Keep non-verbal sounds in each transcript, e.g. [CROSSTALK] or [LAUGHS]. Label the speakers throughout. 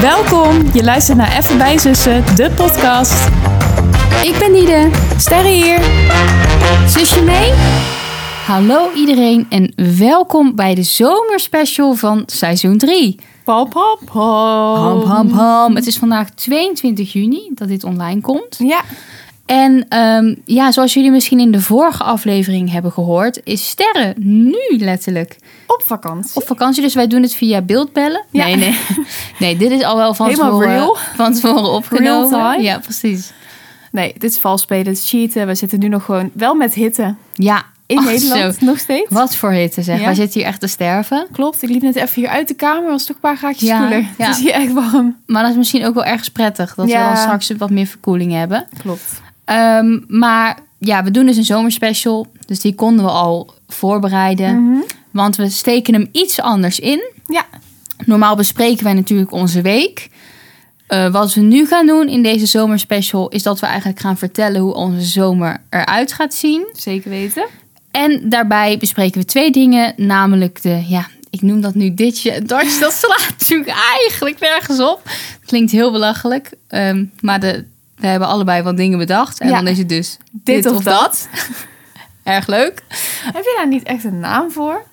Speaker 1: Welkom, je luistert naar Even bij Zussen, de podcast.
Speaker 2: Ik ben Nide.
Speaker 1: Sterre hier.
Speaker 2: Zusje mee? Hallo iedereen en welkom bij de zomerspecial van seizoen 3.
Speaker 1: Pam, pam,
Speaker 2: Ham,
Speaker 1: pam.
Speaker 2: ham, ham. Het is vandaag 22 juni dat dit online komt.
Speaker 1: Ja,
Speaker 2: En ehm, ja, zoals jullie misschien in de vorige aflevering hebben gehoord, is Sterren nu letterlijk
Speaker 1: op vakantie.
Speaker 2: op vakantie. Dus wij doen het via beeldbellen.
Speaker 1: Ja. [LAUGHS]
Speaker 2: Nee, nee. Nee, dit is al wel van,
Speaker 1: Helemaal
Speaker 2: tevoren,
Speaker 1: real.
Speaker 2: van tevoren opgenomen.
Speaker 1: time.
Speaker 2: Ja, precies.
Speaker 1: Nee, dit is vals spelen, dit is cheaten. We zitten nu nog gewoon wel met hitte
Speaker 2: Ja.
Speaker 1: in
Speaker 2: Ach,
Speaker 1: Nederland,
Speaker 2: Oh, zo.
Speaker 1: nog steeds.
Speaker 2: Wat voor hitte zeg.
Speaker 1: Ja.
Speaker 2: Wij zitten hier echt te sterven.
Speaker 1: Klopt, ik liep net even hier uit de kamer, was toch een paar gaatjes
Speaker 2: Ja,
Speaker 1: koeler.
Speaker 2: ja.
Speaker 1: Het is hier echt warm.
Speaker 2: Maar dat is misschien ook wel ergens prettig. Dat
Speaker 1: Ja.
Speaker 2: we dan straks wat meer verkoeling hebben.
Speaker 1: Klopt.
Speaker 2: Ehm, maar ja, we doen dus een zomerspecial. Dus die konden we al voorbereiden.
Speaker 1: Mhm.
Speaker 2: Want we steken hem iets anders in.
Speaker 1: Mm. Ja,
Speaker 2: Normaal bespreken wij natuurlijk onze week. Eh, wat we nu gaan doen in deze zomerspecial... is dat we eigenlijk gaan vertellen hoe onze zomer eruit gaat zien.
Speaker 1: zeker weten.
Speaker 2: En daarbij bespreken we twee dingen. Namelijk de, ja, ik noem dat nu ditje en datje. Dat [LAUGHS] slaat natuurlijk eigenlijk nergens op. Klinkt heel belachelijk. ehm, maar de, we hebben allebei wat dingen bedacht. En
Speaker 1: Ja.
Speaker 2: dan is het dus dit,
Speaker 1: of
Speaker 2: of, dat. [LAUGHS] Erg leuk.
Speaker 1: Heb je daar niet echt een naam voor?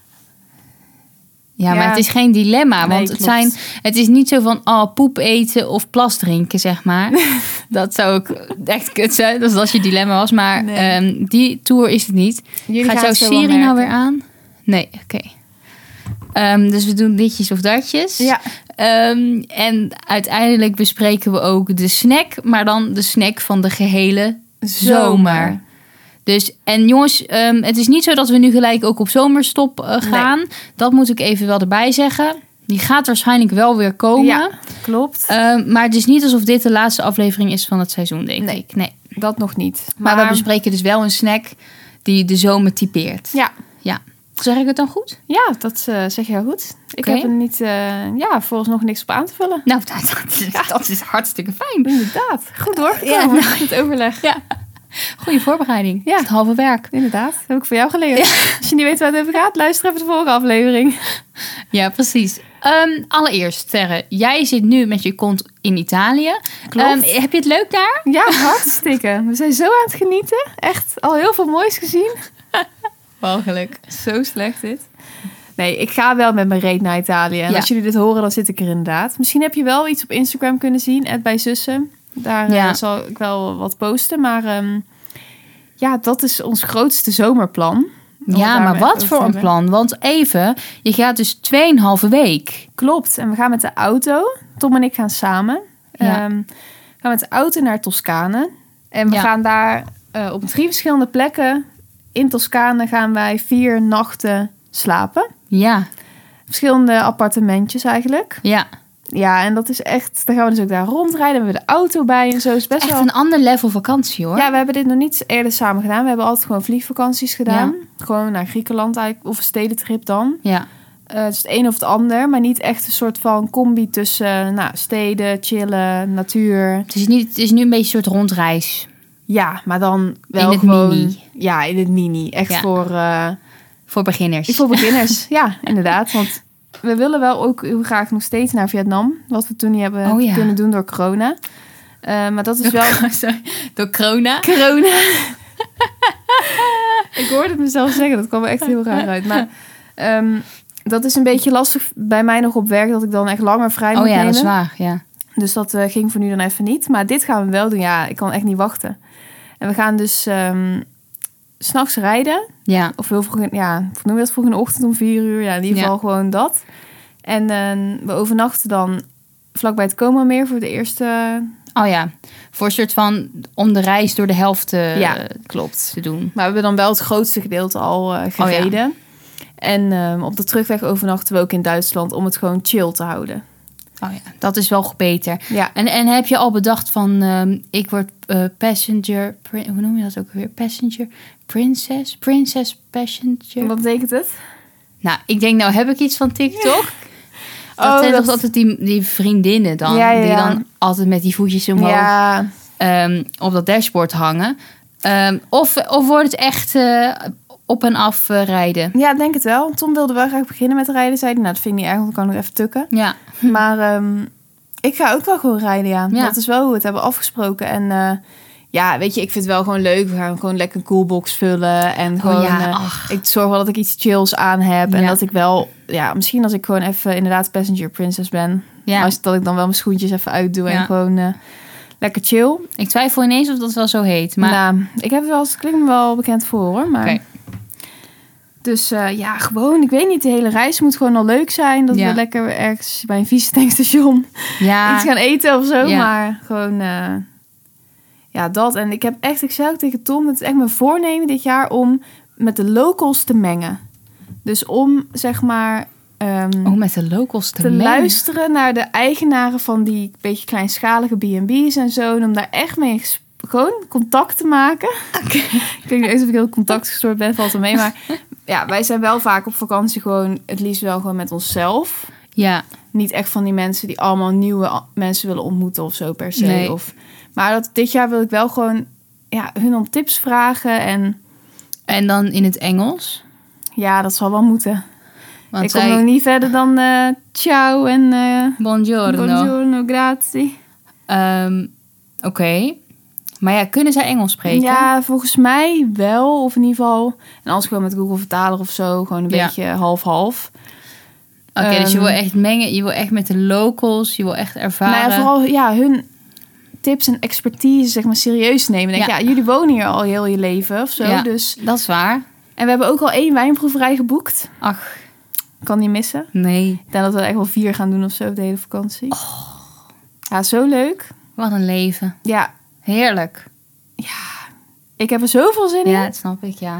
Speaker 2: Ja, maar
Speaker 1: Ja.
Speaker 2: het is geen dilemma.
Speaker 1: Nee,
Speaker 2: Want het,
Speaker 1: klopt.
Speaker 2: zijn, het is niet zo van oh, poep eten of plas drinken,
Speaker 1: [LAUGHS]
Speaker 2: zeg maar. dat zou ook echt kut zijn. Dat is als je dilemma was. Maar
Speaker 1: Nee.
Speaker 2: ehm, die tour is het niet.
Speaker 1: Jullie
Speaker 2: Gaat
Speaker 1: gaan
Speaker 2: jouw
Speaker 1: het zo wel
Speaker 2: serie nou weer
Speaker 1: merken.
Speaker 2: aan? Nee, oké. Ehm, dus we doen ditjes of datjes.
Speaker 1: Ja,
Speaker 2: Ehm, en uiteindelijk bespreken we ook de snack. Maar dan de snack van de gehele zomer. Dus, en jongens, ehm, het is niet zo dat we nu gelijk ook op zomerstop eh, gaan. Dat moet ik even wel erbij zeggen. Die gaat waarschijnlijk wel weer komen.
Speaker 1: Ja, klopt.
Speaker 2: Ehm, maar het is niet alsof dit de laatste aflevering is van het seizoen, denk
Speaker 1: Nee.
Speaker 2: ik. Nee.
Speaker 1: Dat nog niet.
Speaker 2: Maar, we bespreken dus wel een snack die de zomer typeert.
Speaker 1: Ja,
Speaker 2: Zeg ik het dan goed?
Speaker 1: ja dat eh, zeg je heel goed. Ik
Speaker 2: Oké.
Speaker 1: heb er niet, eh, ja, volgens nog niks op aan te vullen.
Speaker 2: Nou, [LAUGHS] dat, dat, is- dat is hartstikke fijn.
Speaker 1: Inderdaad. Goed hoor.
Speaker 2: Ja,
Speaker 1: Ja, nou. het overleg.
Speaker 2: Goede voorbereiding.
Speaker 1: Ja.
Speaker 2: Het halve werk.
Speaker 1: Inderdaad, dat heb ik van jou geleerd. Als je niet weet waar het over gaat, luister even de vorige [LAUGHS] aflevering.
Speaker 2: Ja, precies. Ehm, allereerst, Terre, jij zit nu met je kont in Italië. Ehm, heb je het leuk daar?
Speaker 1: ja, hartstikke. We zijn zo aan het genieten. Echt al heel veel moois gezien.
Speaker 2: Walgelijk.
Speaker 1: Zo slecht dit. Nee, ik ga wel met mijn reet naar Italië. En
Speaker 2: Ja.
Speaker 1: als jullie dit horen, dan zit ik er inderdaad. Misschien heb je wel iets op Instagram kunnen zien, at bij zussen. Daar eh,
Speaker 2: Ja.
Speaker 1: zal ik wel wat posten. Maar ehm, ja, dat is ons grootste zomerplan. Om het
Speaker 2: Ja,
Speaker 1: daarmee
Speaker 2: maar
Speaker 1: over
Speaker 2: wat
Speaker 1: te
Speaker 2: voor een
Speaker 1: hebben.
Speaker 2: plan? Want even, je gaat dus 2,5 week.
Speaker 1: Klopt. En we gaan met de auto. Tom en ik gaan samen.
Speaker 2: Ja.
Speaker 1: Ehm, we gaan met de auto naar Toscane. En we
Speaker 2: Ja.
Speaker 1: gaan daar eh, op drie verschillende plekken. In Toscane gaan wij vier nachten slapen.
Speaker 2: Ja,
Speaker 1: Verschillende appartementjes eigenlijk.
Speaker 2: ja.
Speaker 1: Ja, en dat is echt... Dan gaan we dus ook daar rondrijden. We hebben de auto bij en zo. is best
Speaker 2: Echt
Speaker 1: wel...
Speaker 2: een ander level vakantie hoor.
Speaker 1: Ja, we hebben dit nog niet eerder samen gedaan. We hebben altijd gewoon vliegvakanties gedaan. Gewoon naar Griekenland eigenlijk. Of een stedentrip dan.
Speaker 2: ja.
Speaker 1: Eh, het is het een of het ander, maar niet echt een soort van combi tussen nou, steden, chillen, natuur.
Speaker 2: Het, is niet, het is nu een beetje een soort rondreis.
Speaker 1: Ja, maar dan wel
Speaker 2: In het
Speaker 1: gewoon...
Speaker 2: mini.
Speaker 1: Ja, in het mini. Echt
Speaker 2: Ja.
Speaker 1: voor, eh,
Speaker 2: Voor beginners.
Speaker 1: voor beginners. [LAUGHS] ja, inderdaad. Want we willen wel ook heel graag nog steeds naar Vietnam. Wat we toen niet hebben
Speaker 2: Oh ja.
Speaker 1: kunnen doen door corona. Eh, maar dat is
Speaker 2: Door,
Speaker 1: wel...
Speaker 2: [LAUGHS] sorry, door corona.
Speaker 1: [LAUGHS] Corona. ik hoorde het mezelf zeggen, dat kwam echt heel raar uit. Maar ehm, dat is een beetje lastig bij mij nog op werk, dat ik dan echt langer vrij
Speaker 2: Oh
Speaker 1: moet
Speaker 2: ja,
Speaker 1: nemen.
Speaker 2: dat is waar. Ja.
Speaker 1: Dus dat eh, ging voor nu dan even niet. Maar dit gaan we wel doen. Ja, ik kan echt niet wachten. En we gaan dus ehm, s s'nachts rijden.
Speaker 2: ja.
Speaker 1: Of heel vroeg, in- ja, noem je dat vroeg in de ochtend om vier uur. Ja, in ieder
Speaker 2: Ja.
Speaker 1: geval gewoon dat. En ehm, we overnachten dan vlakbij het Coma meer voor de eerste...
Speaker 2: Oh ja. Voor een soort van om de reis door de helft eh,
Speaker 1: Ja, klopt.
Speaker 2: te doen.
Speaker 1: Maar we hebben dan wel het grootste gedeelte al eh, gereden. En ehm, op de terugweg overnachten we ook in Duitsland om het gewoon chill te houden.
Speaker 2: Oh ja, dat is wel beter.
Speaker 1: Ja,
Speaker 2: En, en heb je al bedacht van ehm, ik word eh, passenger, pri- hoe noem je dat ook weer? Passenger, princess, princess, passenger.
Speaker 1: wat betekent het?
Speaker 2: Nou, ik denk, nou heb ik iets van TikTok. Dat
Speaker 1: Oh,
Speaker 2: zijn
Speaker 1: dat-
Speaker 2: toch altijd die, die vriendinnen dan.
Speaker 1: Ja, ja,
Speaker 2: Die
Speaker 1: ja.
Speaker 2: dan altijd met die voetjes omhoog
Speaker 1: Ja,
Speaker 2: ehm, op dat dashboard hangen. Ehm, of, of wordt het echt eh, op en af eh, rijden?
Speaker 1: Ja, ik denk het wel. Tom wilde wel graag beginnen met rijden. Zei hij, nou, dat vind ik niet erg, want ik kan nog even tukken.
Speaker 2: Ja.
Speaker 1: [CLEARS THROAT] Maar ehm, Ik ga ook wel gewoon rijden, ja.
Speaker 2: Ja.
Speaker 1: Dat is wel hoe we het hebben afgesproken. En eh, ja, weet je, ik vind het wel gewoon leuk. We gaan gewoon lekker een coolbox vullen. En gewoon,
Speaker 2: Oh ja,
Speaker 1: eh,
Speaker 2: ach.
Speaker 1: ik zorg wel dat ik iets chills aan heb. En
Speaker 2: Ja.
Speaker 1: dat ik wel, ja, misschien als ik gewoon even inderdaad passenger princess ben.
Speaker 2: Ja,
Speaker 1: Als, dat ik dan wel mijn schoentjes even uitdoe
Speaker 2: Ja.
Speaker 1: en gewoon eh, lekker chill.
Speaker 2: ik twijfel ineens of dat wel zo heet. Maar
Speaker 1: Nou, ik heb wel, het klinkt me wel bekend voor hoor. Maar...
Speaker 2: Oké.
Speaker 1: Dus eh, ja, gewoon, ik weet niet, de hele reis moet gewoon al leuk zijn. Dat
Speaker 2: Ja.
Speaker 1: we lekker ergens bij een vieze tankstation
Speaker 2: ja,
Speaker 1: iets gaan eten of zo.
Speaker 2: Ah. Ja.
Speaker 1: Maar gewoon, eh, ja, dat. En ik heb echt, ik zei ook tegen Tom, het is echt mijn voornemen dit jaar om met de locals te mengen. Dus om, zeg maar, ehm,
Speaker 2: oh, met de locals te,
Speaker 1: te
Speaker 2: mengen.
Speaker 1: luisteren naar de eigenaren van die beetje kleinschalige B&B's en zo. En om daar echt mee in ges- gewoon contact te
Speaker 2: [LAUGHS]
Speaker 1: maken. Klinkt nu alsof ik heel contactgestoord ben, valt er mee.
Speaker 2: [LAUGHS]
Speaker 1: Maar ja, wij zijn wel vaak op vakantie gewoon het liefst wel gewoon met onszelf
Speaker 2: Ja,
Speaker 1: niet echt van die mensen die allemaal nieuwe a- mensen willen ontmoeten of zo per se.
Speaker 2: Nee.
Speaker 1: Of, maar dat, dit jaar wil ik wel gewoon ja, hun om tips vragen. En
Speaker 2: en dan in het Engels.
Speaker 1: ja, dat zal wel moeten.
Speaker 2: Want
Speaker 1: ik
Speaker 2: zij...
Speaker 1: kom nog niet verder dan eh, ciao en eh
Speaker 2: Buongiorno.
Speaker 1: buongiorno, grazie.
Speaker 2: Ehm, Oké. Maar ja, kunnen zij Engels spreken?
Speaker 1: Ja, volgens mij wel. Of in ieder geval. En anders gewoon met Google Vertaler of zo. Gewoon een
Speaker 2: Ja.
Speaker 1: beetje half-half.
Speaker 2: Oké, dus je
Speaker 1: Ehm,
Speaker 2: wil echt mengen. Je wil echt met de locals. Je wil echt ervaren.
Speaker 1: Nou ja, vooral ja, hun tips en expertise zeg maar serieus nemen. Denk,
Speaker 2: Ja.
Speaker 1: ja. ja, jullie wonen hier al heel je leven of zo.
Speaker 2: Ja.
Speaker 1: Dus
Speaker 2: Dat is waar.
Speaker 1: En we hebben ook al één wijnproeverij geboekt.
Speaker 2: Ach,
Speaker 1: Kan niet missen.
Speaker 2: nee.
Speaker 1: Ik denk dat we er echt wel vier gaan doen of zo de hele vakantie. Ja, zo leuk.
Speaker 2: Wat een leven.
Speaker 1: Ja,
Speaker 2: Heerlijk.
Speaker 1: ik heb er zoveel zin
Speaker 2: Ja,
Speaker 1: in.
Speaker 2: dat snap ik, ja.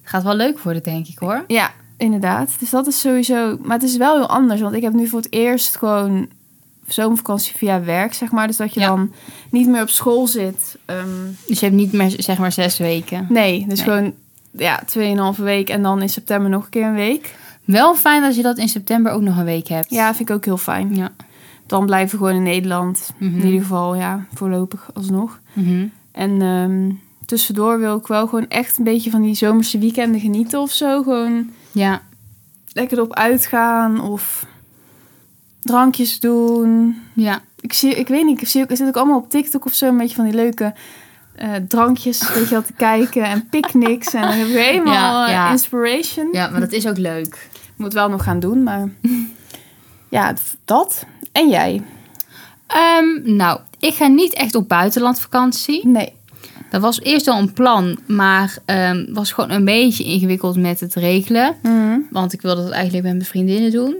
Speaker 2: Het gaat wel leuk worden, denk ik, hoor.
Speaker 1: Ja, inderdaad. Dus dat is sowieso... Maar het is wel heel anders. Want ik heb nu voor het eerst gewoon zomervakantie via werk, zeg maar. Dus dat je
Speaker 2: Ja.
Speaker 1: dan niet meer op school zit. Ehm,
Speaker 2: Dus je hebt niet meer, zeg maar, zes weken.
Speaker 1: nee, dus
Speaker 2: Nee.
Speaker 1: gewoon ja, tweeënhalve week. En dan in september nog een keer een week.
Speaker 2: Wel fijn als je dat in september ook nog een week hebt.
Speaker 1: Ja, vind ik ook heel fijn.
Speaker 2: Ja.
Speaker 1: Dan blijven we gewoon in Nederland.
Speaker 2: Mhm.
Speaker 1: In ieder geval, ja, voorlopig alsnog.
Speaker 2: Mhm.
Speaker 1: En ehm, tussendoor wil ik wel gewoon echt een beetje van die zomerse weekenden genieten of zo. Gewoon
Speaker 2: Ja.
Speaker 1: lekker erop uitgaan of drankjes doen.
Speaker 2: Ja.
Speaker 1: Ik zie, ik weet niet, ik zie ook, ik zit ook allemaal op TikTok of zo een beetje van die leuke eh, drankjes, weet je wel, te kijken en picknicks. En dan heb ik weer helemaal
Speaker 2: Ja,
Speaker 1: eh,
Speaker 2: ja.
Speaker 1: inspiration.
Speaker 2: Ja, maar dat is ook leuk.
Speaker 1: Moet wel nog gaan doen, maar [LAUGHS] ja, d- dat. En jij?
Speaker 2: Ehm, nou, ik ga niet echt op buitenlandvakantie.
Speaker 1: Nee.
Speaker 2: Dat was eerst al een plan, maar ehm, was gewoon een beetje ingewikkeld met het regelen. Want ik wilde dat eigenlijk met mijn vriendinnen doen.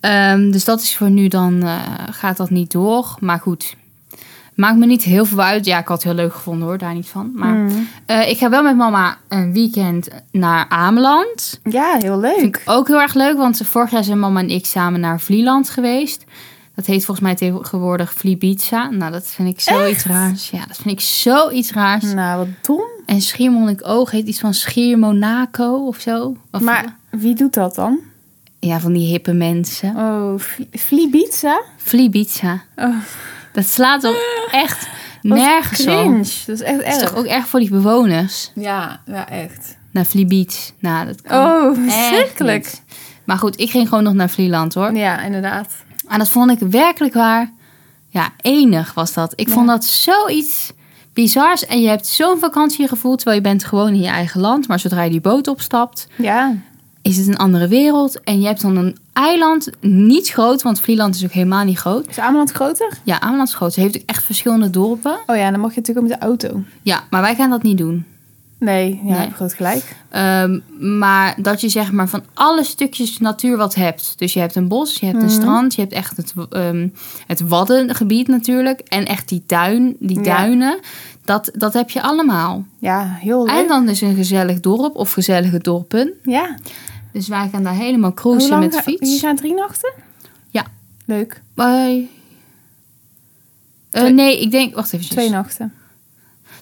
Speaker 2: Ehm, dus dat is voor nu dan, eh, gaat dat niet door. Maar goed, maakt me niet heel veel uit. Ja, ik had het heel leuk gevonden hoor, daar niet van. Maar
Speaker 1: Mm.
Speaker 2: eh, ik ga wel met mama een weekend naar Ameland.
Speaker 1: Ja, heel
Speaker 2: Vind
Speaker 1: leuk.
Speaker 2: ik ook heel erg leuk, want vorig jaar zijn mama en ik samen naar Vlieland geweest. Dat heet volgens mij tegenwoordig Vlibiza. Nou, dat vind ik zoiets raars. Ja, dat vind ik zoiets raars.
Speaker 1: Nou, wat dom.
Speaker 2: En Schiermonnikoog heet iets van Schiermonaco of zo. Of-
Speaker 1: Maar wie doet dat dan?
Speaker 2: Ja, van die hippe mensen.
Speaker 1: Oh, Fli- Flibitza?
Speaker 2: Vlibiza.
Speaker 1: Oh,
Speaker 2: Dat slaat op echt
Speaker 1: Ah, wat
Speaker 2: nergens
Speaker 1: cringe.
Speaker 2: op.
Speaker 1: Dat is echt
Speaker 2: Dat is
Speaker 1: erg.
Speaker 2: toch ook erg voor die bewoners.
Speaker 1: Ja, ja, echt.
Speaker 2: Naar Vlibiet. Nou, dat kan
Speaker 1: Oh,
Speaker 2: echt
Speaker 1: verschrikkelijk.
Speaker 2: niet. Maar goed, ik ging gewoon nog naar Vlieland hoor.
Speaker 1: Ja, inderdaad.
Speaker 2: En Ah, dat vond ik werkelijk waar. Ja, enig was dat. Ik
Speaker 1: Ja.
Speaker 2: vond dat zoiets bizars. En je hebt zo'n vakantiegevoel, terwijl je bent gewoon in je eigen land. Maar zodra je die boot opstapt,
Speaker 1: Ja.
Speaker 2: is het een andere wereld. En je hebt dan een eiland, niet groot, want Vlieland is ook helemaal niet groot.
Speaker 1: Is Ameland groter?
Speaker 2: Ja, Ameland is groot. Ze heeft ook echt verschillende dorpen.
Speaker 1: Oh ja, dan mag je natuurlijk ook met de auto.
Speaker 2: Ja, maar wij gaan dat niet doen.
Speaker 1: Nee, ja,
Speaker 2: Nee.
Speaker 1: heb je groot gelijk.
Speaker 2: Ehm, maar dat je zeg maar van alle stukjes natuur wat hebt. Dus je hebt een bos, je hebt een
Speaker 1: Mhm.
Speaker 2: strand, je hebt echt het, ehm, het waddengebied natuurlijk. En echt die tuin, die
Speaker 1: Ja.
Speaker 2: duinen. Dat, dat heb je allemaal.
Speaker 1: Ja, heel leuk.
Speaker 2: En dan is een gezellig dorp of gezellige dorpen.
Speaker 1: ja.
Speaker 2: Dus wij gaan daar helemaal
Speaker 1: Hoe
Speaker 2: cruisen
Speaker 1: lang
Speaker 2: met
Speaker 1: ga-
Speaker 2: fiets.
Speaker 1: Je gaat drie nachten?
Speaker 2: Ja.
Speaker 1: Leuk.
Speaker 2: Bij... Eh,
Speaker 1: Twee-
Speaker 2: nee, ik denk... Wacht even.
Speaker 1: Twee nachten.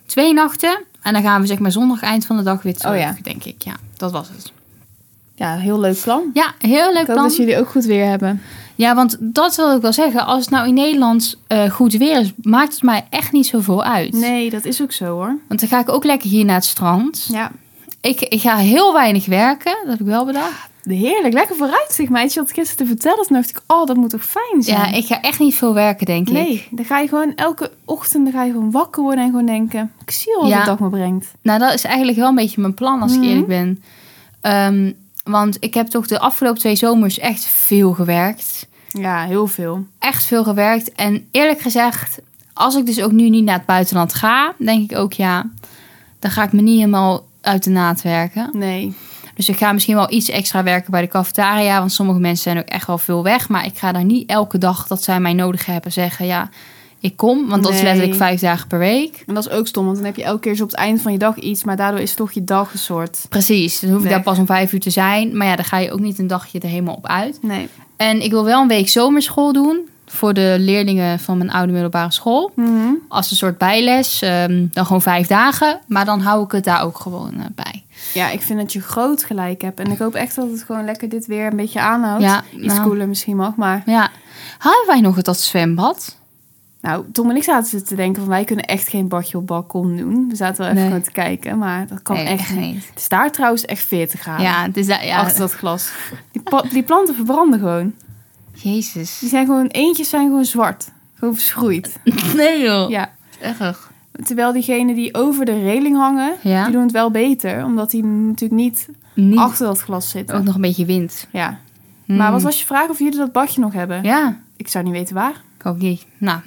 Speaker 2: Twee nachten. En dan gaan we zeg maar zondag eind van de dag weer terug,
Speaker 1: Oh ja.
Speaker 2: denk ik. Ja, dat was het.
Speaker 1: Ja, heel leuk plan.
Speaker 2: Ja, heel leuk
Speaker 1: Ik hoop dat
Speaker 2: plan.
Speaker 1: jullie ook goed weer hebben.
Speaker 2: Ja, want dat wil ik wel zeggen. Als het nou in Nederland eh, goed weer is, maakt het mij echt niet zoveel uit.
Speaker 1: Nee, dat is ook zo hoor.
Speaker 2: Want dan ga ik ook lekker hier naar het strand.
Speaker 1: Ja.
Speaker 2: Ik, ik ga heel weinig werken, dat heb ik wel bedacht.
Speaker 1: Heerlijk, lekker vooruitzicht meidje. Wat ik gisteren te vertellen, toen dacht ik, oh, dat moet toch fijn zijn?
Speaker 2: Ja, ik ga echt niet veel werken, denk ik.
Speaker 1: Nee, dan ga je gewoon elke ochtend dan ga je gewoon wakker worden en gewoon denken... Ik zie al wat
Speaker 2: Ja.
Speaker 1: de dag me brengt.
Speaker 2: Nou, dat is eigenlijk wel een beetje mijn plan, als
Speaker 1: Mhm.
Speaker 2: ik eerlijk ben. Ehm, want ik heb toch de afgelopen twee zomers echt veel gewerkt.
Speaker 1: Ja, heel veel.
Speaker 2: Echt veel gewerkt. En eerlijk gezegd, als ik dus ook nu niet naar het buitenland ga, denk ik ook ja, dan ga ik me niet helemaal uit de naad werken.
Speaker 1: Nee.
Speaker 2: Dus ik ga misschien wel iets extra werken bij de cafetaria. Want sommige mensen zijn ook echt wel veel weg. Maar ik ga daar niet elke dag dat zij mij nodig hebben zeggen: ja, ik kom. Want dat is
Speaker 1: Nee.
Speaker 2: letterlijk vijf dagen per week.
Speaker 1: En dat is ook stom, want dan heb je elke keer zo op het eind van je dag iets... maar daardoor is toch je dag een soort...
Speaker 2: Precies, dan hoef ik
Speaker 1: Nee.
Speaker 2: daar pas om vijf uur te zijn. Maar ja, dan ga je ook niet een dagje er helemaal op uit.
Speaker 1: Nee.
Speaker 2: En ik wil wel een week zomerschool doen. Voor de leerlingen van mijn oude middelbare school.
Speaker 1: Mhm.
Speaker 2: Als een soort bijles. ehm, dan gewoon vijf dagen. Maar dan hou ik het daar ook gewoon eh, bij.
Speaker 1: Ja, ik vind dat je groot gelijk hebt. En ik hoop echt dat het gewoon lekker dit weer een beetje aanhoudt.
Speaker 2: Ja,
Speaker 1: Iets
Speaker 2: nou.
Speaker 1: cooler misschien mag, maar...
Speaker 2: Ja. Hadden wij nog het dat zwembad?
Speaker 1: Nou, Tom en ik zaten te denken van... wij kunnen echt geen badje op balkon doen. We zaten wel even
Speaker 2: Nee.
Speaker 1: gewoon te kijken, maar dat kan
Speaker 2: Nee,
Speaker 1: echt niet. Het is daar trouwens echt 40 graden.
Speaker 2: Ja, dus daar, ja.
Speaker 1: Achter dat glas. Die, pa- die planten verbranden gewoon.
Speaker 2: Jezus.
Speaker 1: Die zijn gewoon, eentjes zijn gewoon zwart. Gewoon verschroeid.
Speaker 2: Nee joh.
Speaker 1: Ja.
Speaker 2: Erg.
Speaker 1: Terwijl diegenen die over de reling hangen,
Speaker 2: Ja.
Speaker 1: die doen het wel beter. Omdat die natuurlijk niet
Speaker 2: Niet.
Speaker 1: achter dat glas zitten.
Speaker 2: Ook nog een beetje wind.
Speaker 1: Ja.
Speaker 2: Hmm.
Speaker 1: Maar wat was je vraag of jullie dat badje nog hebben?
Speaker 2: Ja,
Speaker 1: Ik zou niet weten waar.
Speaker 2: ik ook niet. Nou,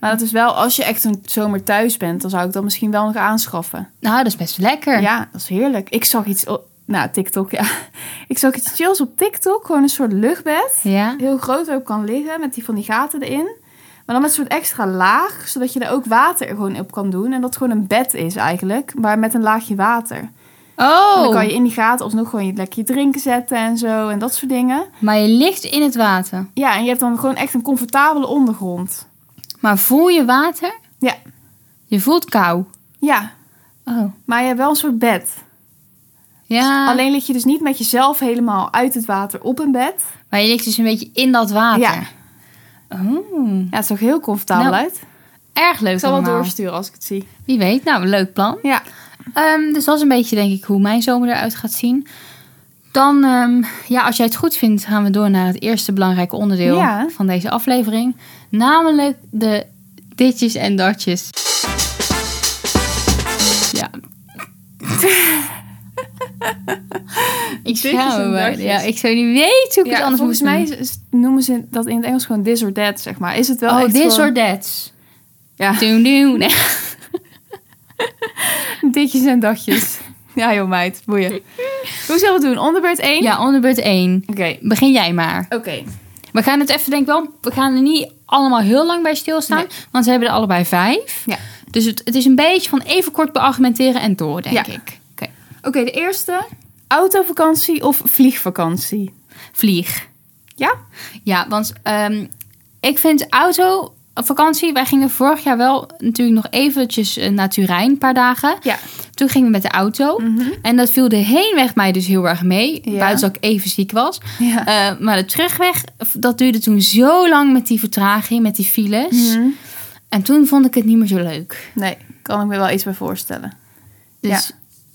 Speaker 1: Maar dat is wel, als je echt een zomer thuis bent, dan zou ik dat misschien wel nog aanschaffen.
Speaker 2: nou dat is best lekker.
Speaker 1: Ja, dat is heerlijk. Ik zag iets op, nou TikTok, ja. [LAUGHS] Ik zag iets chills op TikTok, gewoon een soort luchtbed.
Speaker 2: Ja?
Speaker 1: heel groot ook kan liggen met die van die gaten erin. Maar dan met een soort extra laag, zodat je er ook water gewoon op kan doen. En dat het gewoon een bed is eigenlijk, maar met een laagje water. En
Speaker 2: Oh,
Speaker 1: dan kan je in die gaten alsnog gewoon je lekker je drinken zetten en zo en dat soort dingen.
Speaker 2: maar je ligt in het water.
Speaker 1: Ja, en je hebt dan gewoon echt een comfortabele ondergrond.
Speaker 2: Maar voel je water?
Speaker 1: Ja.
Speaker 2: Je voelt kou.
Speaker 1: Ja,
Speaker 2: Oh.
Speaker 1: maar je hebt wel een soort bed.
Speaker 2: Ja,
Speaker 1: Alleen lig je dus niet met jezelf helemaal uit het water op een bed.
Speaker 2: maar je ligt dus een beetje in dat water.
Speaker 1: Ja.
Speaker 2: Oh,
Speaker 1: Ja, het is toch heel comfortabel
Speaker 2: Nou,
Speaker 1: uit.
Speaker 2: erg leuk
Speaker 1: Ik zal wel
Speaker 2: allemaal.
Speaker 1: doorsturen als ik het zie.
Speaker 2: Wie weet, nou, leuk plan.
Speaker 1: Ja.
Speaker 2: Ehm, dus dat is een beetje, denk ik, hoe mijn zomer eruit gaat zien. Dan, ehm, ja, als jij het goed vindt, gaan we door naar het eerste belangrijke onderdeel
Speaker 1: Ja.
Speaker 2: van deze aflevering. Namelijk de ditjes en datjes.
Speaker 1: [LAUGHS]
Speaker 2: Ja. ik
Speaker 1: Ditjes
Speaker 2: schaam
Speaker 1: en
Speaker 2: me. bijna.
Speaker 1: datjes.
Speaker 2: Ja, ik zou niet weten hoe ik het
Speaker 1: ja
Speaker 2: anders
Speaker 1: volgens
Speaker 2: moet
Speaker 1: mij
Speaker 2: noemen.
Speaker 1: is- is- noemen ze dat in het Engels gewoon this or that, zeg maar. Is het wel
Speaker 2: Oh,
Speaker 1: echt
Speaker 2: this
Speaker 1: gewoon-
Speaker 2: or that's.
Speaker 1: Ja.
Speaker 2: Doen, doen. Nee.
Speaker 1: [LAUGHS] Ditjes en dagjes. ja joh meid, boeien. Hoe zullen we het doen? Onderbeurt 1?
Speaker 2: Ja, onder beurt 1.
Speaker 1: Oké.
Speaker 2: Begin jij maar.
Speaker 1: Oké.
Speaker 2: We gaan het even, denk ik wel, we gaan er niet allemaal heel lang bij stilstaan.
Speaker 1: Nee.
Speaker 2: Want we hebben er allebei vijf.
Speaker 1: Ja.
Speaker 2: Dus het, het is een beetje van even kort beargumenteren en door, denk
Speaker 1: Ja.
Speaker 2: ik. Oké.
Speaker 1: Oké, de eerste. Autovakantie of vliegvakantie?
Speaker 2: Vlieg.
Speaker 1: Ja?
Speaker 2: Ja, want ehm, ik vind auto, vakantie, wij gingen vorig jaar wel natuurlijk nog eventjes eh, naar Turijn, een paar dagen.
Speaker 1: Ja.
Speaker 2: Toen gingen we met de auto.
Speaker 1: Mhm.
Speaker 2: En dat viel de heenweg mij dus heel erg mee.
Speaker 1: Ja.
Speaker 2: Buiten dat ik even ziek was.
Speaker 1: Ja.
Speaker 2: Eh, maar de terugweg, dat duurde toen zo lang met die vertraging, met die files.
Speaker 1: Mhm.
Speaker 2: En toen vond ik het niet meer zo leuk.
Speaker 1: Nee, kan ik me wel iets bij voorstellen.
Speaker 2: Dus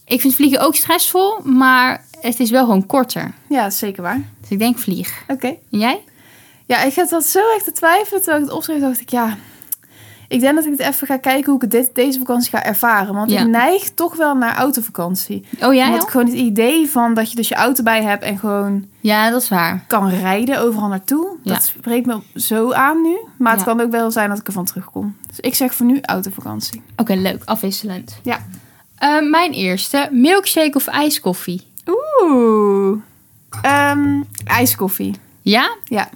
Speaker 2: ik vind vliegen ook stressvol, maar het is wel gewoon korter.
Speaker 1: Ja, dat is zeker waar.
Speaker 2: Dus ik denk vlieg.
Speaker 1: Oké.
Speaker 2: En jij?
Speaker 1: Ja, ik heb dat zo echt te twijfelen. Terwijl ik het opschreef, dacht ik, ja... Ik denk dat ik het even ga kijken hoe ik het dit, deze vakantie ga ervaren. Want
Speaker 2: Ja.
Speaker 1: ik neig toch wel naar autovakantie.
Speaker 2: Oh, jij
Speaker 1: Omdat
Speaker 2: al?
Speaker 1: ik gewoon het idee van dat je dus je auto bij hebt en gewoon
Speaker 2: Ja, dat is waar.
Speaker 1: kan rijden overal naartoe.
Speaker 2: Ja.
Speaker 1: Dat spreekt me zo aan nu. Maar het
Speaker 2: Ja.
Speaker 1: kan ook wel zijn dat ik ervan terugkom. Dus ik zeg voor nu autovakantie.
Speaker 2: Oké, leuk. Afwisselend.
Speaker 1: Ja.
Speaker 2: Eh, mijn eerste. Milkshake of ijskoffie?
Speaker 1: Oeh. Ehm, ijskoffie.
Speaker 2: Ja?
Speaker 1: Ja.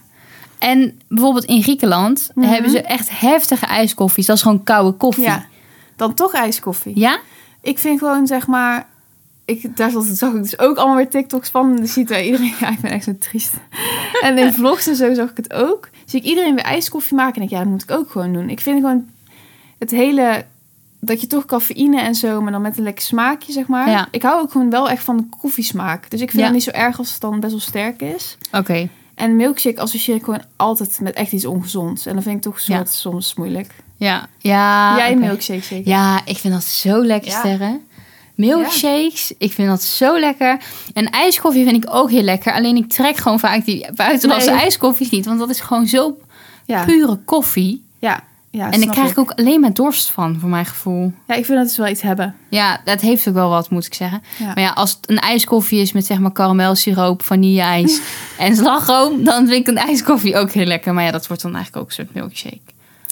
Speaker 2: En bijvoorbeeld in Griekenland
Speaker 1: Mhm.
Speaker 2: hebben ze echt heftige ijskoffies. Dat is gewoon koude koffie.
Speaker 1: Ja. Dan toch ijskoffie.
Speaker 2: Ja?
Speaker 1: Ik vind gewoon zeg maar... Ik, daar zat, zag ik dus ook allemaal weer TikToks van. Dan ziet er iedereen... [LAUGHS] Ja, ik ben echt zo
Speaker 2: [LAUGHS]
Speaker 1: triest. En in vlogs en zo zag ik het ook. Zie ik iedereen weer ijskoffie maken. En ik, ja, dat moet ik ook gewoon doen. Ik vind gewoon het hele... Dat je toch cafeïne en zo, maar dan met een lekker smaakje, zeg maar.
Speaker 2: Ja.
Speaker 1: Ik hou ook gewoon wel echt van de koffiesmaak. Dus ik vind
Speaker 2: Ja.
Speaker 1: het niet zo erg als het dan best wel sterk is.
Speaker 2: Oké.
Speaker 1: En milkshake associeer ik gewoon altijd met echt iets ongezonds. En dat vind ik toch een
Speaker 2: Ja.
Speaker 1: soort soms moeilijk.
Speaker 2: Ja. Ja.
Speaker 1: Jij
Speaker 2: oké.
Speaker 1: milkshake zeker?
Speaker 2: Ja, ik vind dat zo lekker
Speaker 1: Ja.
Speaker 2: sterren. milkshakes. Ik vind dat zo lekker. En ijskoffie vind ik ook heel lekker. Alleen ik trek gewoon vaak die buitenlandse
Speaker 1: Nee.
Speaker 2: ijskoffies niet. Want dat is gewoon zo
Speaker 1: Ja,
Speaker 2: pure koffie.
Speaker 1: ja, ja.
Speaker 2: en daar
Speaker 1: snap
Speaker 2: krijg ik ook alleen maar dorst van, voor mijn gevoel.
Speaker 1: Ja, ik vind dat ze wel iets hebben.
Speaker 2: Ja, dat heeft ook wel wat, moet ik zeggen.
Speaker 1: Ja.
Speaker 2: Maar ja, als het een ijskoffie is met zeg maar
Speaker 1: [LAUGHS]
Speaker 2: karamelsiroop, vanille-ijs en slagroom... dan vind ik een ijskoffie ook heel lekker. Maar ja, dat wordt dan eigenlijk ook een soort milkshake.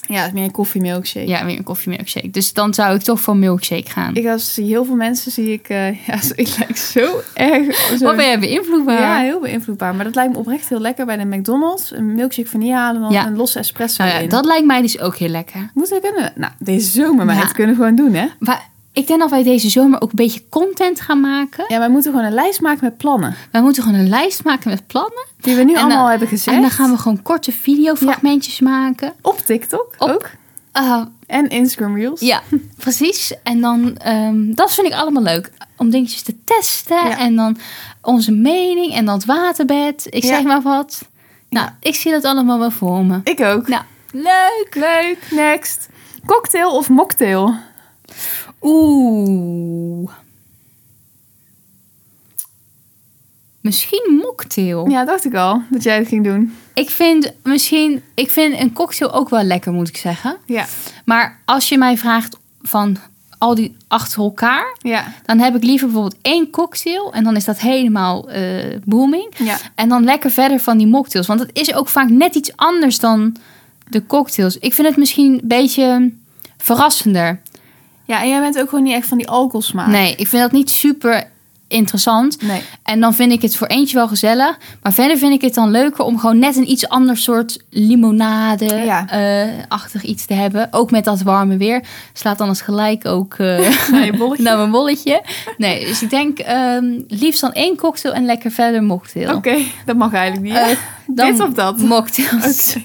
Speaker 1: Ja, het is meer een koffiemilkshake.
Speaker 2: Ja, weer een koffiemilkshake. Dus dan zou ik toch voor milkshake gaan.
Speaker 1: Ik als zie heel veel mensen zie ik, eh, [LAUGHS] ja, zo- ik lijk zo erg. zo-
Speaker 2: Wat ben jij beïnvloedbaar?
Speaker 1: ja, heel beïnvloedbaar. Maar dat lijkt me oprecht heel lekker bij de McDonald's. Een milkshake vanille halen en dan
Speaker 2: Ja.
Speaker 1: een losse espresso
Speaker 2: Nou ja,
Speaker 1: in.
Speaker 2: dat lijkt mij dus ook heel lekker.
Speaker 1: Moeten we kunnen. Nou, deze zomer, maar
Speaker 2: Ja.
Speaker 1: het kunnen we gewoon doen, hè?
Speaker 2: Maar ik denk dat wij deze zomer ook een beetje content gaan maken.
Speaker 1: Ja, wij moeten gewoon een lijst maken met plannen.
Speaker 2: Wij moeten gewoon een lijst maken met plannen.
Speaker 1: Die we nu
Speaker 2: En
Speaker 1: allemaal
Speaker 2: dan-
Speaker 1: hebben gezegd.
Speaker 2: En dan gaan we gewoon korte videofragmentjes maken.
Speaker 1: Op TikTok
Speaker 2: Op-
Speaker 1: ook.
Speaker 2: Eh,
Speaker 1: En Instagram Reels.
Speaker 2: [LAUGHS] ja, precies. En dan, ehm, dat vind ik allemaal leuk. Om dingetjes te testen.
Speaker 1: Ja.
Speaker 2: En dan onze mening. En dat waterbed. Ik
Speaker 1: Ja.
Speaker 2: zeg maar wat. Nou, ik zie dat allemaal wel voor me.
Speaker 1: Ik ook.
Speaker 2: Nou, leuk.
Speaker 1: Leuk. Next. Cocktail of mocktail?
Speaker 2: Oeh. Misschien mocktail.
Speaker 1: Ja, dacht ik al dat jij het ging doen.
Speaker 2: Ik vind misschien, ik vind een cocktail ook wel lekker, moet ik zeggen.
Speaker 1: Ja.
Speaker 2: Maar als je mij vraagt van al die achter elkaar,
Speaker 1: Ja.
Speaker 2: dan heb ik liever bijvoorbeeld één cocktail en dan is dat helemaal eh, booming.
Speaker 1: Ja.
Speaker 2: En dan lekker verder van die mocktails, want dat is ook vaak net iets anders dan de cocktails. Ik vind het misschien een beetje verrassender.
Speaker 1: Ja, en jij bent ook gewoon niet echt van die alcoholsmaak.
Speaker 2: Nee, ik vind dat niet super interessant.
Speaker 1: Nee.
Speaker 2: En dan vind ik het voor eentje wel gezellig. Maar verder vind ik het dan leuker om gewoon net een iets ander soort
Speaker 1: Ja.
Speaker 2: limonade-achtig iets te hebben. Ook met dat warme weer. Slaat dan als gelijk ook eh [LAUGHS]
Speaker 1: Nee, bolletje.
Speaker 2: naar mijn bolletje. Nee, dus ik denk ehm, liefst dan één cocktail en lekker verder mocktail.
Speaker 1: Oké, dat mag eigenlijk niet.
Speaker 2: Eh, dan
Speaker 1: Dit of dat? [LAUGHS]
Speaker 2: Mocktails.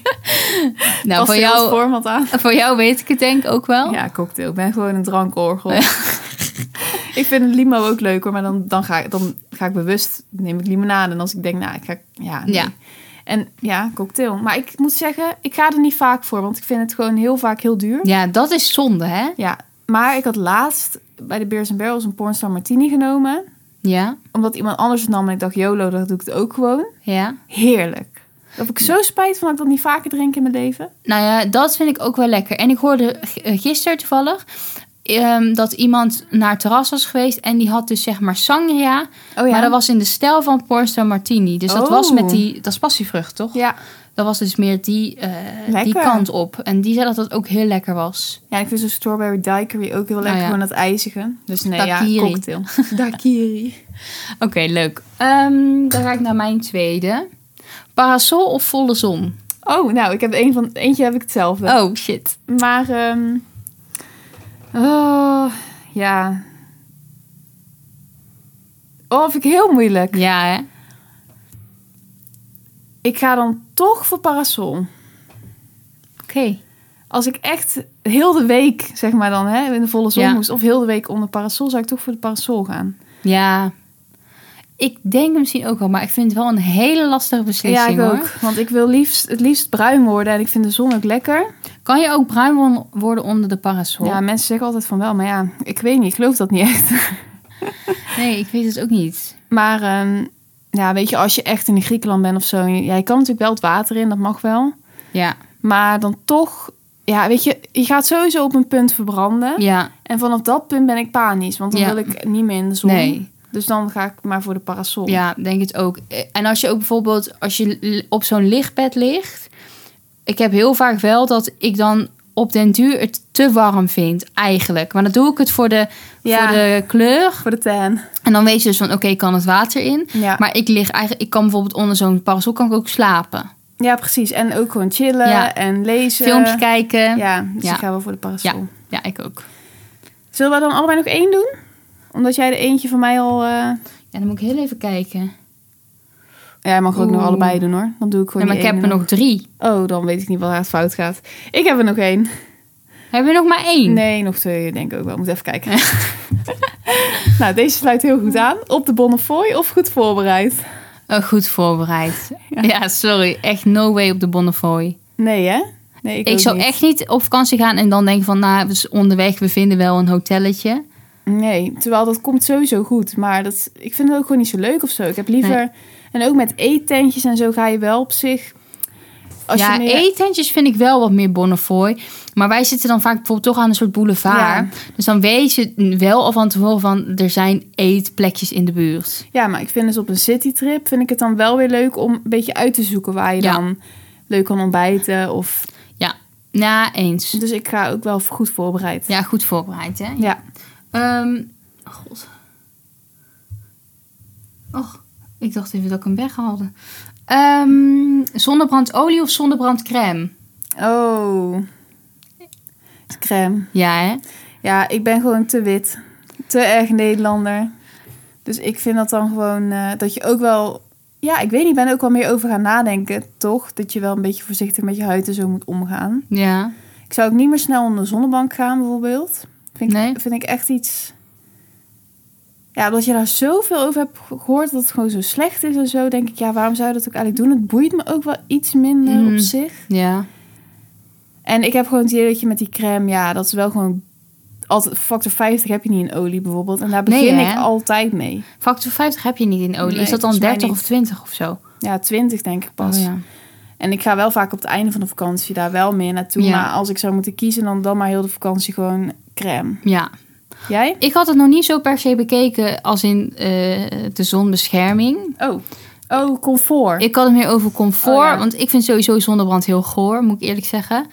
Speaker 1: Past
Speaker 2: Nou, Eh,
Speaker 1: heel
Speaker 2: voor
Speaker 1: het
Speaker 2: jou, Oh?
Speaker 1: format aan.
Speaker 2: voor jou weet ik het denk ik ook wel.
Speaker 1: Ja, cocktail. Ik ben gewoon een drankorgel. ik vind een limo ook leuk hoor, maar dan, dan, ga, ik, dan ga ik bewust, neem ik limonade. En als ik denk, nou, ik ga, ja, nee.
Speaker 2: Ja.
Speaker 1: En ja, cocktail. Maar ik moet zeggen, ik ga er niet vaak voor, want ik vind het gewoon heel vaak heel duur.
Speaker 2: ja, dat is zonde, hè?
Speaker 1: Ja, maar ik had laatst bij de Beers Barrels een pornstar martini genomen.
Speaker 2: Ja,
Speaker 1: Omdat iemand anders het nam en ik dacht, YOLO, dan doe ik het ook gewoon.
Speaker 2: ja.
Speaker 1: Heerlijk. Dat heb ik zo spijt van dat ik dat niet vaker drink in mijn leven.
Speaker 2: Nou ja, dat vind ik ook wel lekker. En ik hoorde g- eh, gisteren toevallig ehm, dat iemand naar het terras was geweest. En die had dus zeg maar sangria.
Speaker 1: Oh ja.
Speaker 2: Maar dat was in de stijl van Pornstar Martini. Dus dat was
Speaker 1: Oh.
Speaker 2: met die, dat is passievrucht toch?
Speaker 1: Ja.
Speaker 2: Dat was dus meer die, eh, die
Speaker 1: Lekker.
Speaker 2: kant op. En die zei dat dat ook heel lekker was.
Speaker 1: Ja, ik vind zo'n strawberry daiquiri ook heel lekker.
Speaker 2: Oh ja.
Speaker 1: Gewoon dat ijzige. Dus nee, ja,
Speaker 2: Daiquiri. [LAUGHS]
Speaker 1: cocktail. [LAUGHS] Daiquiri.
Speaker 2: Oké, leuk. Ehm, dan ga ik naar mijn tweede. Parasol of volle zon?
Speaker 1: Oh, nou, ik heb een van, eentje heb ik hetzelfde.
Speaker 2: Oh, shit.
Speaker 1: Maar, ehm, oh, ja. Oh, vind ik heel moeilijk.
Speaker 2: Ja, hè?
Speaker 1: Ik ga dan toch voor parasol.
Speaker 2: Oké.
Speaker 1: Als ik echt heel de week, zeg maar dan, hè, in de volle zon
Speaker 2: Ja.
Speaker 1: moest... of heel de week onder parasol, zou ik toch voor de parasol gaan.
Speaker 2: Ja. Ik denk misschien ook wel, maar ik vind het wel een hele lastige beslissing.
Speaker 1: ja, ik
Speaker 2: hoor.
Speaker 1: ook. Want ik wil liefst, het liefst bruin worden en ik vind de zon ook lekker.
Speaker 2: Kan je ook bruin won- worden onder de parasol?
Speaker 1: Ja, mensen zeggen altijd van wel, maar ja, ik weet niet, ik geloof dat niet echt. [LAUGHS]
Speaker 2: Nee, ik weet het ook niet.
Speaker 1: Maar ehm, ja, weet je, als je echt in Griekenland bent of zo, en je- ja, je kan natuurlijk wel het water in, dat mag wel.
Speaker 2: Ja,
Speaker 1: Maar dan toch, ja, weet je, je gaat sowieso op een punt verbranden.
Speaker 2: ja,
Speaker 1: En vanaf dat punt ben ik panisch, want dan
Speaker 2: Ja.
Speaker 1: wil ik niet meer in de zon.
Speaker 2: Nee.
Speaker 1: Dus dan ga ik maar voor de parasol.
Speaker 2: ja, denk het ook. Eh, En als je ook bijvoorbeeld als je l- op zo'n lichtbed ligt, ik heb heel vaak wel dat ik dan op den duur het te warm vind eigenlijk. Maar dan doe ik het voor de,
Speaker 1: Ja.
Speaker 2: voor de kleur.
Speaker 1: Voor de tan.
Speaker 2: En dan weet je dus van oké, kan het water in.
Speaker 1: Ja.
Speaker 2: Maar ik lig eigenlijk, ik kan bijvoorbeeld onder zo'n parasol kan ik ook slapen.
Speaker 1: ja, precies. En ook gewoon chillen
Speaker 2: Ja.
Speaker 1: en lezen.
Speaker 2: Filmpje kijken. Ja.
Speaker 1: Ja, dus
Speaker 2: Ja.
Speaker 1: ik ga wel voor de parasol.
Speaker 2: Ja. ik ook.
Speaker 1: Zullen we dan allebei nog één doen? Omdat jij de eentje van mij al... eh,
Speaker 2: Ja, dan moet ik heel even kijken.
Speaker 1: Ja, je mag ook nog
Speaker 2: Oeh.
Speaker 1: allebei doen hoor. Dan doe ik
Speaker 2: Ja,
Speaker 1: gewoon
Speaker 2: maar ik
Speaker 1: die
Speaker 2: heb
Speaker 1: ene
Speaker 2: er nog drie.
Speaker 1: dan. Oh, dan weet ik niet waar het fout gaat. Ik heb er nog één.
Speaker 2: Hebben we nog maar één?
Speaker 1: Nee, nog twee denk ik ook wel. Moet even kijken. [LAUGHS] nou, deze sluit heel goed aan. Op de Bonnefoy of goed voorbereid?
Speaker 2: Eh, goed voorbereid. ja. sorry. Echt no way op de Bonnefoy.
Speaker 1: Nee hè? Nee, ik,
Speaker 2: Ik,
Speaker 1: ook
Speaker 2: zou
Speaker 1: niet.
Speaker 2: echt niet op vakantie gaan en dan denken van... nou, we zijn onderweg, we vinden wel een hotelletje.
Speaker 1: Nee, terwijl dat komt sowieso goed. Maar dat, ik vind het ook gewoon niet zo leuk of zo. Ik heb liever... En ook met eettentjes en zo ga je wel op zich... Als
Speaker 2: ja,
Speaker 1: je meer-
Speaker 2: eetentjes vind ik wel wat meer Bonnefoy. Maar wij zitten dan vaak bijvoorbeeld toch aan een soort boulevard.
Speaker 1: Ja.
Speaker 2: Dus dan weet je wel al van tevoren van... er zijn eetplekjes in de buurt.
Speaker 1: Ja, maar ik vind dus op een citytrip vind ik het dan wel weer leuk om een beetje uit te zoeken waar je
Speaker 2: Ja.
Speaker 1: dan leuk kan ontbijten. Of...
Speaker 2: Na eens.
Speaker 1: Dus ik ga ook wel goed voorbereid.
Speaker 2: Ja, goed voorbereid, hè?
Speaker 1: Ja.
Speaker 2: Ehm, God. Och, ik dacht even dat ik hem weghaalde. Ehm zonnebrandolie of zonnebrandcrème?
Speaker 1: Oh. Crème.
Speaker 2: Ja, hè?
Speaker 1: Ja, ik ben gewoon te wit. Te erg Nederlander. Dus ik vind dat dan gewoon eh, dat je ook wel. Ja, ik weet niet, ik ben er ook wel meer over gaan nadenken, toch? Dat je wel een beetje voorzichtig met je huid en zo moet omgaan.
Speaker 2: Ja.
Speaker 1: Ik zou ook niet meer snel onder de zonnebank gaan, bijvoorbeeld. Vind ik,
Speaker 2: Nee.
Speaker 1: vind ik echt iets. Ja, omdat je daar zoveel over hebt ge- gehoord dat het gewoon zo slecht is en zo, denk ik, ja, waarom zou je dat ook eigenlijk doen? Het boeit me ook wel iets minder
Speaker 2: Mm.
Speaker 1: op zich.
Speaker 2: Ja.
Speaker 1: En ik heb gewoon het idee dat je met die crème, ja, dat is wel gewoon altijd factor 50 heb je niet in olie bijvoorbeeld. En daar
Speaker 2: Nee,
Speaker 1: begin
Speaker 2: hè?
Speaker 1: ik altijd mee.
Speaker 2: Factor 50 heb je niet in olie.
Speaker 1: Nee,
Speaker 2: Is dat dan
Speaker 1: volgens mij
Speaker 2: 30
Speaker 1: niet.
Speaker 2: of 20 of zo?
Speaker 1: Ja, 20 denk ik pas.
Speaker 2: Oh, ja.
Speaker 1: En ik ga wel vaak op het einde van de vakantie daar wel meer naartoe.
Speaker 2: Ja.
Speaker 1: Maar als ik zou moeten kiezen, dan, dan maar heel de vakantie gewoon crème.
Speaker 2: ja.
Speaker 1: Jij?
Speaker 2: Ik had het nog niet zo per se bekeken als in eh, de zonbescherming.
Speaker 1: Oh, oh comfort.
Speaker 2: Ik had het meer over comfort.
Speaker 1: Oh, ja.
Speaker 2: Want ik vind sowieso zonnebrand heel goor, moet ik eerlijk zeggen.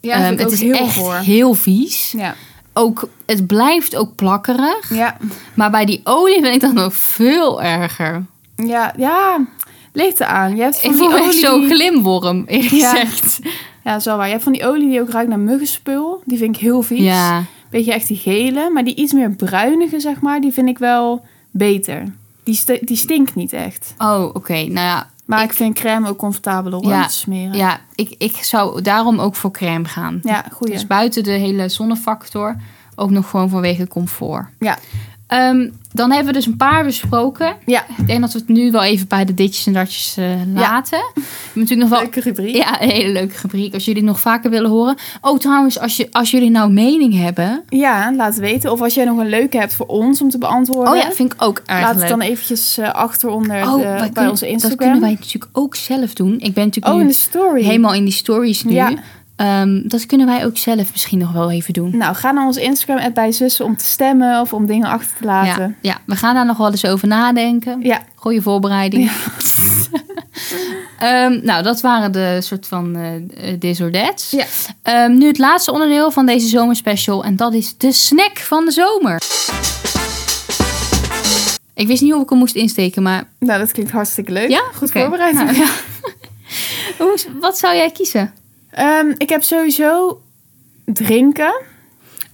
Speaker 1: ja,
Speaker 2: Ehm,
Speaker 1: vind ik
Speaker 2: het
Speaker 1: ook
Speaker 2: is
Speaker 1: heel
Speaker 2: echt
Speaker 1: goor.
Speaker 2: heel vies.
Speaker 1: Ja.
Speaker 2: Ook, het blijft ook plakkerig.
Speaker 1: Ja.
Speaker 2: Maar bij die olie vind ik dat nog veel erger.
Speaker 1: Ja, ja. Leeft eraan. Je hebt van
Speaker 2: Ik
Speaker 1: die
Speaker 2: voel me echt
Speaker 1: olie
Speaker 2: zo'n
Speaker 1: die-
Speaker 2: glimworm, eerlijk
Speaker 1: Ja.
Speaker 2: gezegd.
Speaker 1: Ja, dat is wel waar. Je hebt van die olie die ook ruikt naar muggenspul. Die vind ik heel vies.
Speaker 2: Ja,
Speaker 1: Beetje echt die gele, maar die iets meer bruinige, zeg maar, die vind ik wel beter. Die, st- die stinkt niet echt.
Speaker 2: oh, oké. Nou ja,
Speaker 1: Maar ik, vind crème ook comfortabeler om
Speaker 2: Ja,
Speaker 1: te smeren.
Speaker 2: ja ik, ik zou daarom ook voor crème gaan.
Speaker 1: ja goeie.
Speaker 2: Dus buiten de hele zonnefactor ook nog gewoon vanwege comfort.
Speaker 1: Ja.
Speaker 2: Ehm, dan hebben we dus een paar besproken.
Speaker 1: Ja.
Speaker 2: Ik denk dat we het nu wel even bij de ditjes en datjes eh, laten. We hebben natuurlijk nog wel
Speaker 1: Leuke rubriek.
Speaker 2: ja, een hele leuke rubriek. Als jullie het nog vaker willen horen. Oh, trouwens, als, je, als jullie nou mening hebben.
Speaker 1: Ja, laat weten. Of als jij nog een leuke hebt voor ons om te beantwoorden.
Speaker 2: Oh ja, vind ik ook erg
Speaker 1: laat
Speaker 2: leuk.
Speaker 1: het dan eventjes eh, achter onder
Speaker 2: Oh,
Speaker 1: de-
Speaker 2: wij
Speaker 1: bij
Speaker 2: kunnen-
Speaker 1: onze
Speaker 2: Dat kunnen
Speaker 1: Instagram.
Speaker 2: wij natuurlijk ook zelf doen. Ik ben natuurlijk
Speaker 1: Oh, in
Speaker 2: nu
Speaker 1: de story.
Speaker 2: helemaal in die stories nu.
Speaker 1: Ja.
Speaker 2: Ehm, dat kunnen wij ook zelf misschien nog wel even doen.
Speaker 1: Nou, ga naar onze Instagram, at bij zussen, om te stemmen of om dingen achter te
Speaker 2: Ja,
Speaker 1: laten.
Speaker 2: ja, we gaan daar nog wel eens over nadenken.
Speaker 1: Ja,
Speaker 2: Goede voorbereiding. [LAUGHS] Ehm, nou, dat waren de soort van eh eh, this or that's.
Speaker 1: Ja.
Speaker 2: Ehm, nu het laatste onderdeel van deze zomerspecial. En dat is de snack van de zomer. Ik wist niet hoe ik hem moest insteken, maar...
Speaker 1: nou dat klinkt hartstikke leuk.
Speaker 2: ja,
Speaker 1: Goed
Speaker 2: Oké.
Speaker 1: voorbereid.
Speaker 2: Nou, ja. [LAUGHS] Hoe- Wat zou jij
Speaker 1: [LAUGHS]
Speaker 2: kiezen?
Speaker 1: Ehm, ik heb sowieso drinken.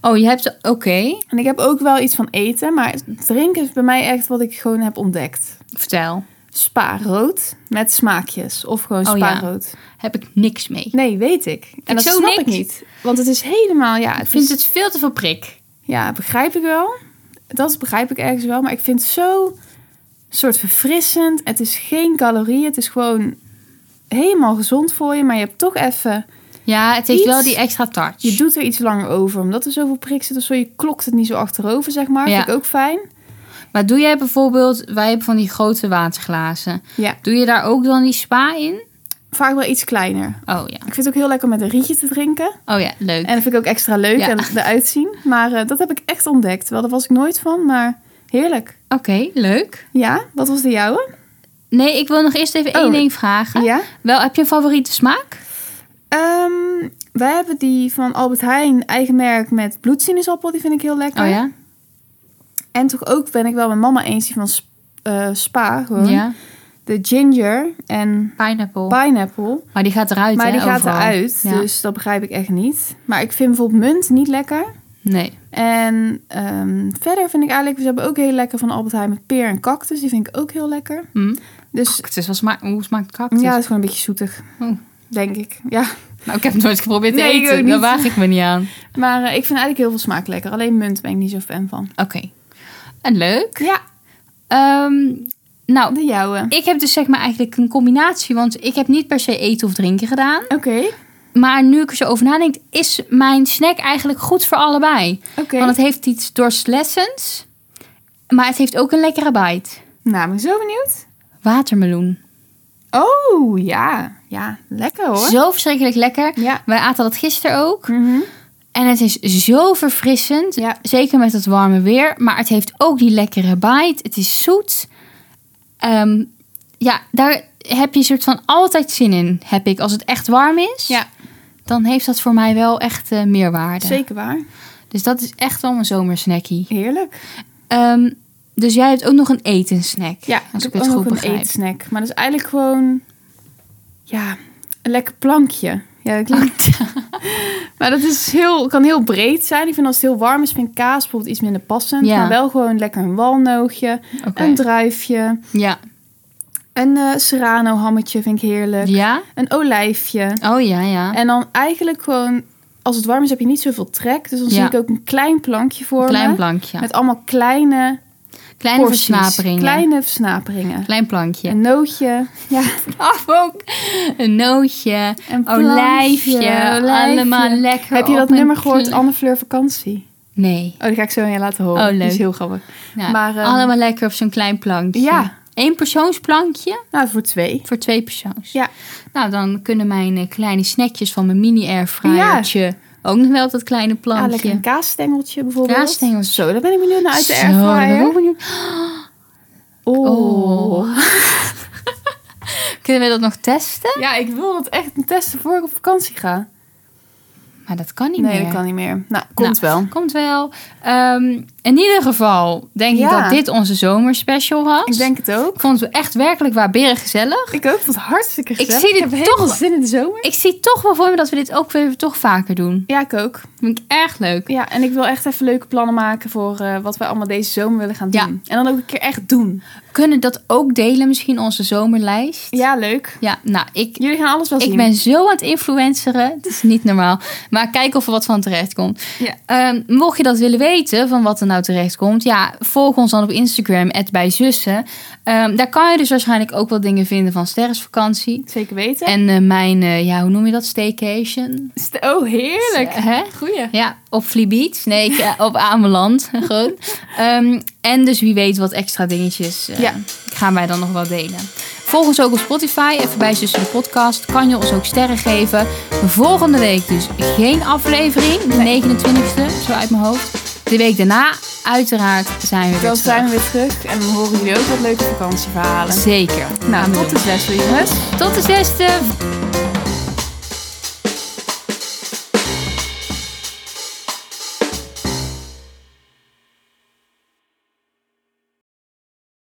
Speaker 2: Oh, je hebt... Oké.
Speaker 1: En ik heb ook wel iets van eten, maar drinken is bij mij echt wat ik gewoon heb ontdekt.
Speaker 2: Vertel.
Speaker 1: Spa rood met smaakjes of gewoon
Speaker 2: Oh,
Speaker 1: spa
Speaker 2: ja.
Speaker 1: rood.
Speaker 2: Heb ik niks mee.
Speaker 1: Nee, weet ik. En dat
Speaker 2: zo
Speaker 1: snap
Speaker 2: niks.
Speaker 1: ik niet, want het is helemaal ja,
Speaker 2: Ik vind
Speaker 1: is-
Speaker 2: het veel te veel prik.
Speaker 1: Ja, begrijp ik wel. Dat begrijp ik ergens wel, maar ik vind het zo soort verfrissend. Het is geen calorieën, het is gewoon helemaal gezond voor je, maar je hebt toch even
Speaker 2: Ja, het heeft
Speaker 1: Iets-
Speaker 2: wel die extra touch.
Speaker 1: Je doet er iets langer over, omdat er zoveel prik zit of zo. Je klokt het niet zo achterover, zeg maar.
Speaker 2: Ja.
Speaker 1: Vind ik ook fijn.
Speaker 2: Maar doe jij bijvoorbeeld... Wij hebben van die grote waterglazen.
Speaker 1: Ja.
Speaker 2: Doe je daar ook dan die spa in?
Speaker 1: Vaak wel iets kleiner.
Speaker 2: Oh ja.
Speaker 1: Ik vind het ook heel lekker om met een rietje te drinken.
Speaker 2: Oh ja, leuk.
Speaker 1: En dat vind ik ook extra leuk
Speaker 2: Ja.
Speaker 1: en eruit zien. Maar eh, dat heb ik echt ontdekt. Wel, daar was ik nooit van, maar heerlijk.
Speaker 2: Eh, Oké, leuk.
Speaker 1: Ja, wat was de jouwe?
Speaker 2: Nee, ik wil nog eerst even
Speaker 1: Oh.
Speaker 2: één ding vragen.
Speaker 1: Ja.
Speaker 2: Wel, heb je een favoriete smaak?
Speaker 1: Ehm, wij hebben die van Albert Heijn, eigen merk met bloedsinaasappel. Die vind ik heel lekker.
Speaker 2: Oh ja?
Speaker 1: En toch ook ben ik wel met mama eens die van Sp- eh, Spa. Gewoon.
Speaker 2: Ja.
Speaker 1: De ginger en
Speaker 2: Pineapple.
Speaker 1: pineapple.
Speaker 2: maar die gaat eruit,
Speaker 1: Maar
Speaker 2: hè,
Speaker 1: die gaat
Speaker 2: overal.
Speaker 1: eruit,
Speaker 2: Ja.
Speaker 1: dus dat begrijp ik echt niet. Maar ik vind bijvoorbeeld munt niet lekker.
Speaker 2: Nee.
Speaker 1: En ehm, verder vind ik eigenlijk... Ze hebben ook heel lekker van Albert Heijn met peer en cactus. Die vind ik ook heel lekker.
Speaker 2: Hm.
Speaker 1: Dus
Speaker 2: Cactus, wat smaakt, hoe smaakt cactus?
Speaker 1: ja, het is gewoon een beetje zoetig.
Speaker 2: Oh.
Speaker 1: Denk ik, ja.
Speaker 2: Nou, ik heb het nooit geprobeerd te
Speaker 1: Nee, ik
Speaker 2: eten.
Speaker 1: ook niet.
Speaker 2: Daar waag ik me niet aan.
Speaker 1: Maar eh, ik vind eigenlijk heel veel smaak lekker. Alleen munt ben ik niet zo fan van.
Speaker 2: Oké. En leuk.
Speaker 1: Ja,
Speaker 2: Ehm, nou,
Speaker 1: de jouwe.
Speaker 2: ik heb dus zeg maar eigenlijk een combinatie. Want ik heb niet per se eten of drinken gedaan.
Speaker 1: Oké.
Speaker 2: Maar nu ik er zo over nadenk, is mijn snack eigenlijk goed voor allebei.
Speaker 1: Oké.
Speaker 2: Want het heeft iets doorslessends, maar het heeft ook een lekkere bite.
Speaker 1: Nou, ik ben zo benieuwd.
Speaker 2: Watermeloen.
Speaker 1: Oh, ja. Ja, lekker hoor.
Speaker 2: Zo verschrikkelijk lekker.
Speaker 1: Ja.
Speaker 2: Wij aten dat gisteren ook.
Speaker 1: Mhm.
Speaker 2: En het is zo verfrissend.
Speaker 1: Ja.
Speaker 2: Zeker met het warme weer. Maar het heeft ook die lekkere bite. Het is zoet. Ehm, ja, daar heb je soort van altijd zin in, heb ik. Als het echt warm is,
Speaker 1: Ja,
Speaker 2: dan heeft dat voor mij wel echt eh, meerwaarde.
Speaker 1: zeker waar.
Speaker 2: Dus dat is echt wel mijn zomersnackie.
Speaker 1: Heerlijk.
Speaker 2: Ehm, dus jij hebt ook nog een
Speaker 1: [LAUGHS]
Speaker 2: etensnack.
Speaker 1: Ja,
Speaker 2: als ik
Speaker 1: heb
Speaker 2: het
Speaker 1: ook
Speaker 2: goed
Speaker 1: nog een
Speaker 2: begrijp.
Speaker 1: eetsnack. Maar dat is eigenlijk gewoon... Ja, een lekker plankje. Ja, dat klinkt... [LAUGHS] Maar dat is heel, kan heel breed zijn. Ik vind als het heel warm is, vind ik kaas bijvoorbeeld iets minder passend.
Speaker 2: Ja.
Speaker 1: Maar wel gewoon lekker een walnootje,
Speaker 2: Oké.
Speaker 1: een druifje,
Speaker 2: Ja.
Speaker 1: een eh serrano hammetje vind ik heerlijk.
Speaker 2: ja?
Speaker 1: Een olijfje.
Speaker 2: Oh ja, ja.
Speaker 1: En dan eigenlijk gewoon, als het warm is, heb je niet zoveel trek. Dus dan
Speaker 2: Ja.
Speaker 1: zie ik ook een klein plankje voor
Speaker 2: Klein
Speaker 1: me.
Speaker 2: plankje.
Speaker 1: Met allemaal kleine
Speaker 2: Kleine
Speaker 1: porties.
Speaker 2: versnaperingen.
Speaker 1: Kleine versnaperingen.
Speaker 2: Klein plankje.
Speaker 1: Een nootje. Ja,
Speaker 2: af ook. Een nootje,
Speaker 1: een plankje,
Speaker 2: olijfje, Oh, allemaal lekker.
Speaker 1: Heb je
Speaker 2: op
Speaker 1: dat
Speaker 2: een
Speaker 1: nummer gehoord,
Speaker 2: kle-
Speaker 1: Anne Fleur Vakantie?
Speaker 2: Nee.
Speaker 1: Oh, die ga ik zo aan je laten horen.
Speaker 2: Oh,
Speaker 1: Die
Speaker 2: leuk.
Speaker 1: is heel grappig.
Speaker 2: Nou,
Speaker 1: Maar, ehm,
Speaker 2: allemaal lekker op zo'n klein plankje.
Speaker 1: Ja.
Speaker 2: Eén persoonsplankje
Speaker 1: Nou, voor twee.
Speaker 2: voor twee persoons.
Speaker 1: Ja.
Speaker 2: Nou, dan kunnen mijn eh, kleine snackjes van mijn mini airfryertje ook nog wel op dat kleine
Speaker 1: Ja, Ah, lekker
Speaker 2: plankje.
Speaker 1: een kaasstengeltje bijvoorbeeld.
Speaker 2: Kaasstengeltje.
Speaker 1: Zo, daar ben ik benieuwd naar uit de
Speaker 2: Zo, daar ben ik ook
Speaker 1: airfryer. Oh.
Speaker 2: Oh. kunnen we dat nog testen?
Speaker 1: Ja, ik wil dat echt testen voor ik op vakantie ga.
Speaker 2: Maar dat kan niet
Speaker 1: nee,
Speaker 2: meer.
Speaker 1: dat kan niet meer. Nou, komt wel.
Speaker 2: Komt wel. Ehm, in ieder geval denk ik
Speaker 1: Ja.
Speaker 2: dat dit onze zomerspecial was.
Speaker 1: Ik denk het ook.
Speaker 2: Ik vond het echt werkelijk waar beren gezellig.
Speaker 1: Ik ook, vond het hartstikke gezellig.
Speaker 2: zie dit
Speaker 1: heb helemaal
Speaker 2: toch-
Speaker 1: zin in de zomer.
Speaker 2: Ik zie toch wel voor me dat we dit ook weer toch vaker doen.
Speaker 1: Ja, ik ook.
Speaker 2: Vind ik erg leuk.
Speaker 1: Ja, en ik wil echt even leuke plannen maken voor eh, wat wij allemaal deze zomer willen gaan doen.
Speaker 2: Ja.
Speaker 1: En dan ook een keer echt doen.
Speaker 2: Kunnen dat ook delen misschien onze zomerlijst?
Speaker 1: Ja, leuk.
Speaker 2: Ja, nou, ik,
Speaker 1: Jullie gaan alles wel zien.
Speaker 2: ik ben zo aan het influenceren. Het is niet normaal. Maar kijk of er wat van terecht komt.
Speaker 1: Ja.
Speaker 2: Ehm, mocht je dat willen weten, van wat er nou terecht komt... ja, volg ons dan op Instagram, bijzussen. Ehm daar kan je dus waarschijnlijk ook wel dingen vinden van Sterrensvakantie.
Speaker 1: Zeker weten.
Speaker 2: En eh, mijn, eh, ja, hoe noem je dat? Staycation?
Speaker 1: St- Oh, heerlijk.
Speaker 2: Hè?
Speaker 1: Goeie.
Speaker 2: Ja, op Vliebiet. Nee, ik, eh, op Ameland. [LAUGHS] Gewoon. Ehm, en dus wie weet wat extra dingetjes eh,
Speaker 1: Ja.
Speaker 2: gaan wij dan nog wel delen. Volg ons ook op Spotify. Even bij Zussen de Podcast. Kan je ons ook sterren geven. Volgende week dus geen aflevering. De 29e, zo uit mijn hoofd. De week daarna, uiteraard, zijn we weer
Speaker 1: Dan zijn we
Speaker 2: terug.
Speaker 1: weer terug en dan horen jullie ook wat leuke vakantieverhalen.
Speaker 2: Zeker. Gaan
Speaker 1: Nou,
Speaker 2: we
Speaker 1: tot
Speaker 2: doen.
Speaker 1: de zesde, jongens.
Speaker 2: tot de 6e.